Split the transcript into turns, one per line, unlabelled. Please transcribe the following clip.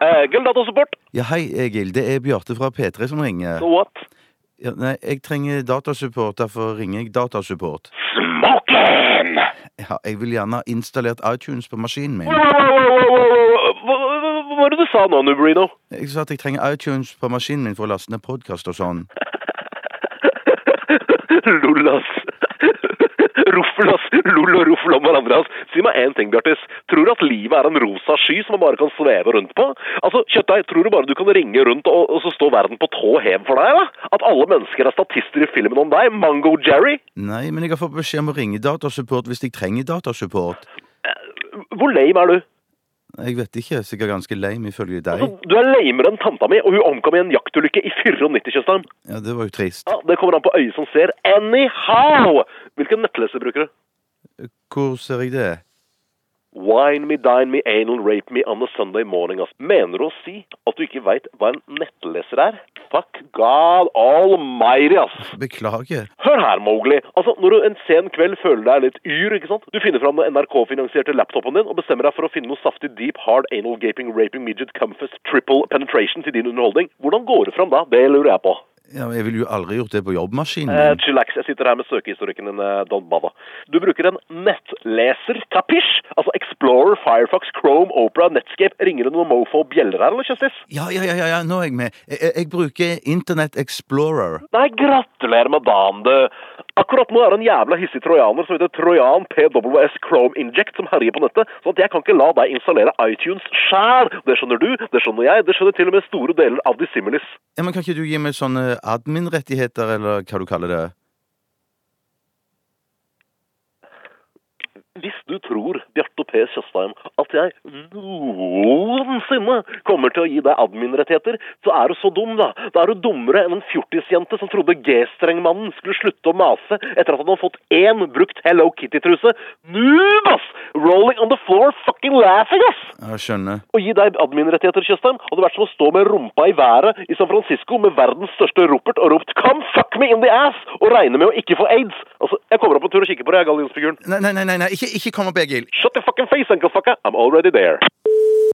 Eh, Gulldatasupport.
Ja, hei, Egil. Det er Bjarte fra P3 som ringer.
So what?
Ja, nei, jeg trenger datasupport, derfor ringer jeg datasupport.
Smoken!
Ja, jeg vil gjerne ha installert iTunes på maskinen min.
Hva hva var det du sa nå, Nubrino?
Jeg sa at jeg trenger iTunes på maskinen min for å laste ned podkast og sånn.
Lol, ass. Ruffel, ass. Lol og ruffel om hverandre, ass. Si meg én ting, Bjartis. Tror du at livet er en rosa sky som man bare kan sveve rundt på? Altså, Kjøttdeig, tror du bare du kan ringe rundt og, og så står verden på tå hev for deg, da? At alle mennesker er statister i filmen om deg? Mango Jerry?
Nei, men jeg har fått beskjed om å ringe datasupport hvis jeg trenger datasupport.
Hvor lame er du?
Jeg vet ikke, sikkert ganske lame ifølge deg.
Altså, du er lamere enn tanta mi, og hun omkom i en jaktulykke i 94, Tjøstheim.
Ja, det var jo trist.
Ja, det kommer an på øyet som ser. Anyhow! Hvilken nettleser bruker du?
Hvor ser jeg det?
Wine me, dine me, anal rape me on a Sunday morning, ass. Mener du å si at du ikke veit hva en nettleser er? Fuck God almighty, ass.
Beklager.
Hør her, Mowgli. Altså, når du en sen kveld føler deg litt yr, ikke sant? Du finner fram den NRK-finansierte laptopen din og bestemmer deg for å finne noe saftig deep, hard, anal gaping, raping, midget, comfort, triple penetration til din underholdning. Hvordan går det fram da? Det lurer jeg på.
Ja, men jeg ville jo aldri gjort det på jobbmaskinen
Eh,
min.
chillax, jeg sitter her med søkehistorikken din, eh, Don Bada. Du bruker en nettleser, kapisj? Altså Explorer, Firefox, Chrome, Opera, Netscape, ringer det noen mofo bjeller her, eller, Kjøstis?
Ja, ja, ja, ja, ja, nå er jeg med. Jeg, jeg- jeg bruker Internett Explorer.
Nei, gratulerer med dagen, du. Akkurat nå er det en jævla hissig trojaner som heter Trojan PWS Chrome Inject som herjer på nettet, sånn at jeg kan ikke la deg installere iTunes sjæl. Det skjønner du, det skjønner jeg, det skjønner til og med store deler av de similis.
Ja, men Kan ikke du gi meg sånne admin-rettigheter, eller hva du kaller det?
Hvis du tror, Bjarte P. Tjøstheim, at jeg noensinne kommer til å gi deg admin-rettigheter, så er du så dum, da. Da er du dummere enn en fjortisjente som trodde G-strengmannen skulle slutte å mase etter at han hadde fått én brukt Hello Kitty-truse. Noob, ass! Rolling on the floor, fucking laughing, ass!
Ja, skjønner.
Å gi deg admin-rettigheter, Tjøstheim, hadde vært som å stå med rumpa i været i San Francisco med verdens største ropert og ropt 'Come fuck me in the ass!' og regne med å ikke få aids. Altså, jeg kommer opp en tur og kikker på deg, gallionsfiguren.
Nei, nei, nei, nei, nei. Ikke, ikke kom opp, Egil.
Shut the fucking face, uncle fucker. I'm already there.